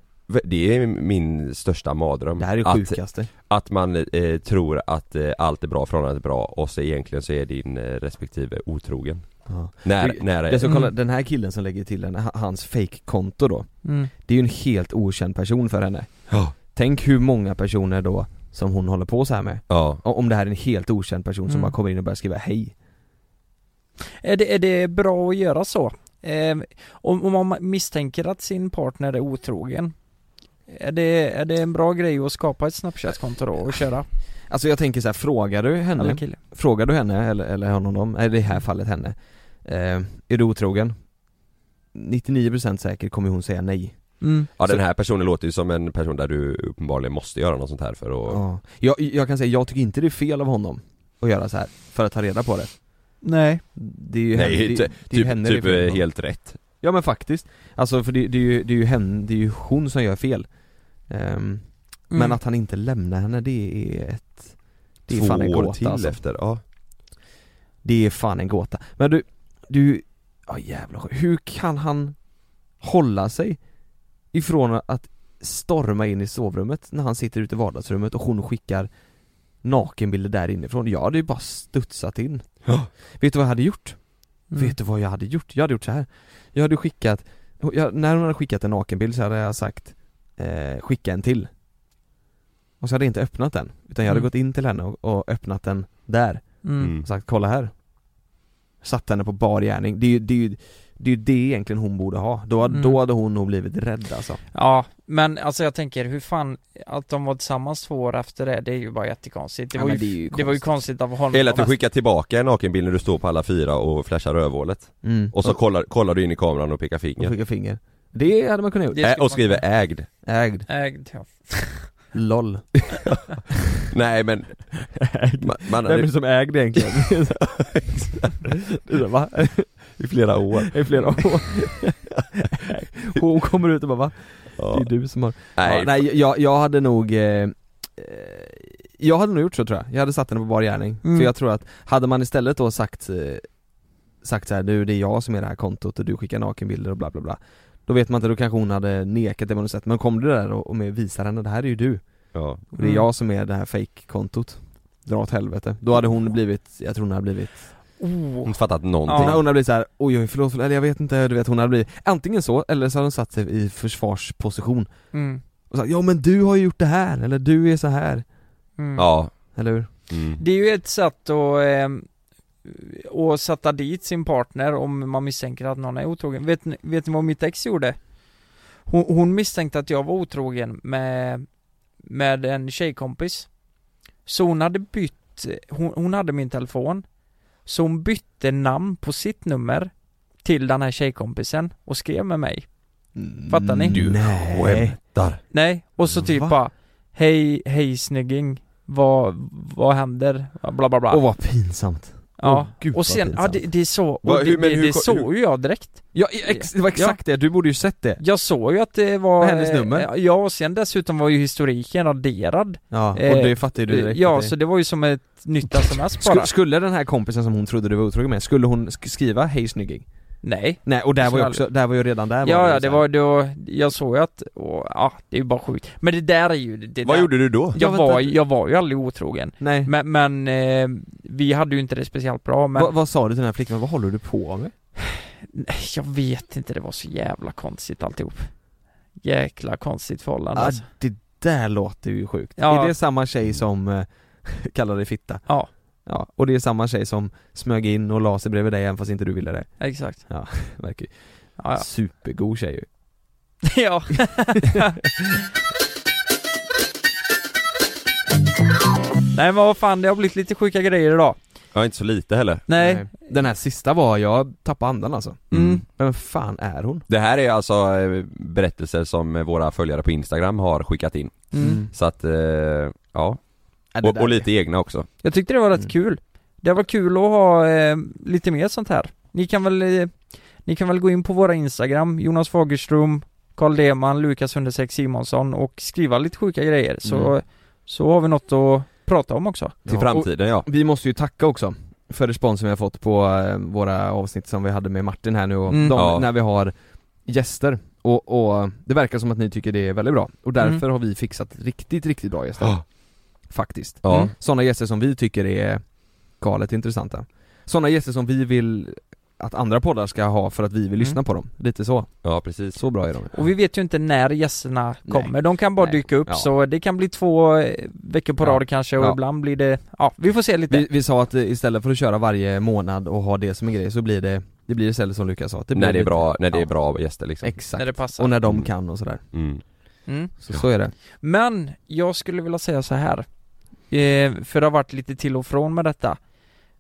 det är min största mardröm Det här är det att, sjukaste. att man eh, tror att eh, allt är bra, förhållandet är bra och så egentligen så är din eh, respektive otrogen Ja. När, Det- när det som kolla, Mm. den här killen som lägger till henne, h- hans fake-konto då Mm. Det är ju en helt okänd person för henne Ja. Tänk hur många personer då som hon håller på så här med Ja O- Om det här är en helt okänd person som Mm. bara kommer in och börjar skriva hej Är det, är det bra att göra så? Eh, om, om man misstänker att sin partner är otrogen är det, är det en bra grej att skapa ett snapchat-konto då och köra? Alltså jag tänker så här, frågar du Eller henne? kille? Frågar du henne eller, eller honom, eller i det här fallet henne eh, Är du otrogen? 99% säker kommer hon säga nej Mm. Ja den Så- här personen låter ju som en person där du uppenbarligen måste göra något sånt här för att ja. jag, jag kan säga, jag tycker inte det är fel av honom att göra så här för att ta reda på det Nej. Det är ju Nej, henne, det, ty- det är ju typ, henne typ det är fel eh, på. helt rätt Ja men faktiskt, alltså för det, det, är, ju, det är ju hen, det är ju hon som gör fel Ehm, Mm. Men att han inte lämnar henne det är ett Det är Två fan en år gåta till alltså. efter, ja Det är fan en gåta Men du, du, ja jävlar hur kan han hålla sig ifrån att storma in i sovrummet när han sitter ute i vardagsrummet och hon skickar nakenbilder där inifrån? Jag hade ju bara studsat in Ja. Vet du vad jag hade gjort? Mm. Vet du vad jag hade gjort? Jag hade gjort så här. Jag hade skickat, jag, när hon hade skickat en nakenbild så hade jag sagt eh, Skicka en till Och så hade jag inte öppnat den Utan jag hade Mm. gått in till henne och, och öppnat den där Mm. Mm. Och sagt kolla här Satt henne på bar gärning, det är ju det, är ju, det, är ju det egentligen hon borde ha då, Mm. då hade hon nog blivit rädd alltså Ja, men alltså jag tänker hur fan att de var tillsammans två år efter det, det är ju bara jättekonstigt. Det, Ja, var, ju, men det det, är ju var ju konstigt av honom. Eller att du skickar tillbaka en nakenbild när du står på alla fyra och flashar rövhålet mm. Och så kollar, kollar du in i kameran och pekar och finger skicka finger Det hade man kunnat gjort, Det skulle Ä- man- Äh, och skriver ägd ägd, Ägd, ja. *laughs* LOL Nej men man, man hade, som ägd egentligen? *laughs* Va? i flera år I flera *laughs* år Hon kommer ut och bara va? ja. Det är du som har Nej, Ja, nej jag, jag hade nog eh, eh, Jag hade nog gjort så tror jag, jag hade satt henne på bar gärning Mm. För jag tror att, hade man istället då sagt eh, Sagt så här, du det är jag som är det här kontot och du skickar nakenbilder och bla bla bla Då vet man inte, då kanske hon hade nekat det på något sätt Men kom du där och, och med visar henne, det här är ju du ja. Och Mm. det är jag som är det här fake-kontot Dra åt helvete, då hade hon blivit, jag tror hon hade blivit Hon har Oh. inte fattat Hon någonting hon hade blivit såhär, oj oj förlåt, förlåt, eller jag vet inte, du vet hon hade blivit Antingen så, eller så hade hon satt sig i försvarsposition Mm. och sagt ja men du har ju gjort det här, eller du är så här Mm. Ja Eller hur? mm. Det är ju ett sätt att, eh, att sätta dit sin partner om man misstänker att någon är otrogen. Vet, ni- vet ni vad mitt ex gjorde? Hon, hon misstänkte att jag var otrogen med, med en tjejkompis Så hon hade bytt, hon, hon hade min telefon Så hon bytte namn på sitt nummer till den här tjejkompisen och skrev med mig Fattar ni? Mm, Du skämtar. Nej, och så typ bara Hej, hej snygging Vad, vad händer? Bla bla bla Åh vad pinsamt Ja, Åh, gud, och vad sen, ja pinsamt. det, det är så, och Va, hur- det, men det, hur det ko- såg ju jag direkt Ja, ex, det var exakt det, du borde ju sett det Jag såg ju att det var Med hennes eh, nummer. Ja, och sen dessutom var ju historiken raderad Ja, och Eh, det fattar ju du direkt Ja, att det- så det var ju som ett nytt sms Sku- bara Skulle den här kompisen som hon trodde du var otrogen med, skulle hon sk- skriva 'Hej snygging'? Nej Nej, och där Så var ju aldrig. också, där var ju redan där Ja, ju ja, så det här- var då, jag såg ju att, åh, ja, det är ju bara sjukt Men det där är ju det Vad där. gjorde du då? Jag Ja, var, vänta. jag var ju aldrig otrogen Nej Men, men eh, vi hade ju inte det speciellt bra men Vad- vad sa du till den här flickan? Vad håller du på med? Nej, Äh, Jag vet inte, det var så jävla konstigt alltihop Jäkla konstigt förhållande Ja, alltså. det där låter ju sjukt. Ja. Är det samma tjej som eh, *laughs* kallar dig fitta? Ja. Ja, och det är samma tjej som smög in och la sig bredvid dig även fast inte du ville det? Exakt Ja, verkar ju Ja, ja. *laughs* supergod tjej ju. Ja *laughs* Nej men vad fan, det har blivit lite sjuka grejer idag Ja inte så lite heller Nej. Den här sista var, jag tappade andan alltså. Mm. Vem fan är hon? Det här är alltså eh, berättelser som eh, våra följare på Instagram har skickat in Mm. Så att, eh, ja Äh, Ja, det och, där och lite egna också Jag tyckte det var rätt kul Det var kul att ha eh, lite mer sånt här Ni kan väl eh, Ni kan väl gå in på våra Instagram Jonas Fagerström Karl Deman, Lukas 106 Simonsson och skriva lite sjuka grejer så Mm. Så har vi något att prata om också Ja, och Vi måste ju tacka också för responsen vi har fått på eh, våra avsnitt som vi hade med Martin här nu och Mm. de, Ja. när vi har gäster och, och det verkar som att ni tycker det är väldigt bra och därför Mm. har vi fixat riktigt, riktigt bra gäster Faktiskt Ja. mm. Sådana gäster som vi tycker är galet intressanta Sådana gäster som vi vill att andra poddar ska ha för att vi vill Mm. lyssna på dem, lite så Ja precis Så bra är de Och vi vet ju inte när gästerna kommer, de kan bara dyka upp Ja. så det kan bli två eh, veckor på Ja. rad kanske och Ja. ibland blir det, ja vi får se lite vi, vi sa att eh, istället för att köra varje månad och ha det som en grej så blir det Det blir istället som Lukas sa att det blir När det är lite- bra, när det är bra gäster liksom Exakt. När det passar. Och när de Mm. kan och sådär. Mm. Mm. Så, så är det. Men jag skulle vilja säga så här eh, För det har varit lite till och från med detta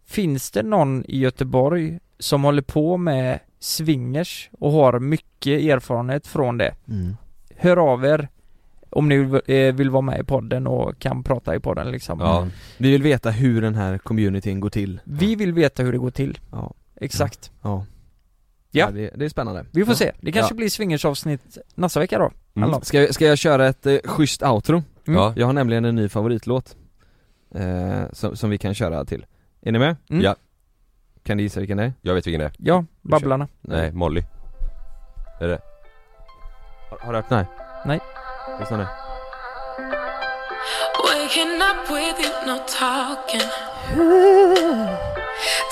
Finns det någon i Göteborg som håller på med swingers och har mycket erfarenhet från det? Mm. Hör av er om ni vill- eh, vill vara med i podden och kan prata i podden liksom Mm. Vi vill veta hur den här communityn går till. Vi vill veta hur det går till Ja. Exakt Ja. Ja. det, det är spännande. Vi får Ja. se, det kanske Ja. blir swingersavsnitt nästa vecka då Eller Mm. något. Ska, jag- ska jag köra ett eh, schysst outro? Mm. Ja. Jag har nämligen en ny favoritlåt eh, som, som vi kan köra till. Är ni med? Mm. Ja. Kan ni gissa vilken det är? Jag vet vilken det är Ja, Babblarna Nej, Molly Är det? Har, har du hört den här? Nej Lyssna nu. Waking up with you, no talking.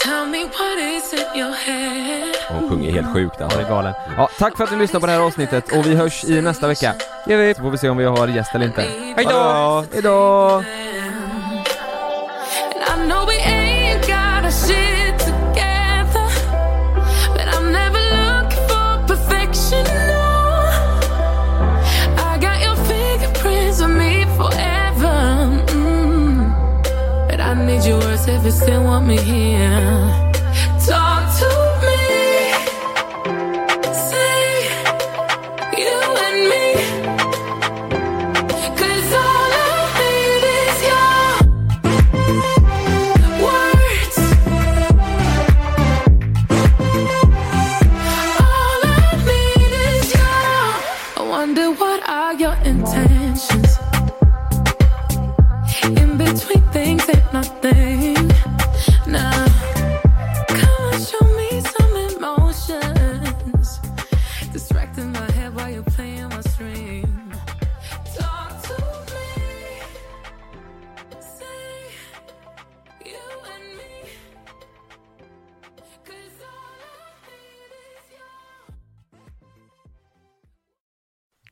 Tell me what is in your head. Hon sjunger helt sjukt alltså. Ja, det är galen. Ja, tack för att ni lyssnade på det här avsnittet och vi hörs i nästa vecka. Gör vi. Så får vi se om vi har gäst eller inte. Hejdå! Hejdå! And I know we ain't got our shit together, but I'm never looking for perfection. No, I got your fingerprints on me forever. Mm. But I need your words if you still want me here. Talk to me. Say you and me. 'Cause all I need is your words. All I need is your. I wonder what are your intentions? In between things ain't nothing. Now, come on, show me some emotions. Distracting my head while you're playing my string. Talk to me. Say you and me. 'Cause all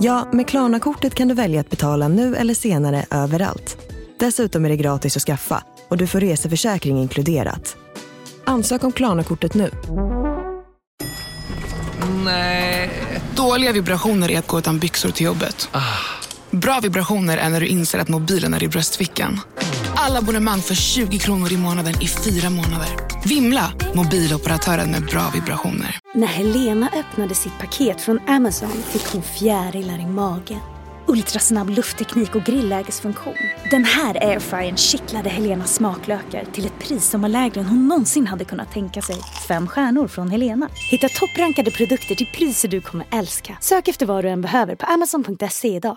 Ja, med Klarna-kortet kan du välja att betala nu eller senare överallt. Dessutom är det gratis att skaffa och du får reseförsäkring inkluderat. Ansök om Klarna-kortet nu. Nej. Dåliga vibrationer är att gå utan byxor till jobbet. Bra vibrationer är när du inser att mobilen är i bröstfickan. Alla abonnemang för 20 kronor i månaden i fyra månader. Vimla! Mobiloperatören med bra vibrationer. När Helena öppnade sitt paket från Amazon fick hon fjärilar i magen. Ultrasnabb luftteknik och grillägesfunktion. Den här airfryern kittlade Helenas smaklökar till ett pris som var lägre än hon någonsin hade kunnat tänka sig. Fem stjärnor från Helena. Hitta topprankade produkter till priser du kommer älska. Sök efter vad du än behöver på amazon.se idag.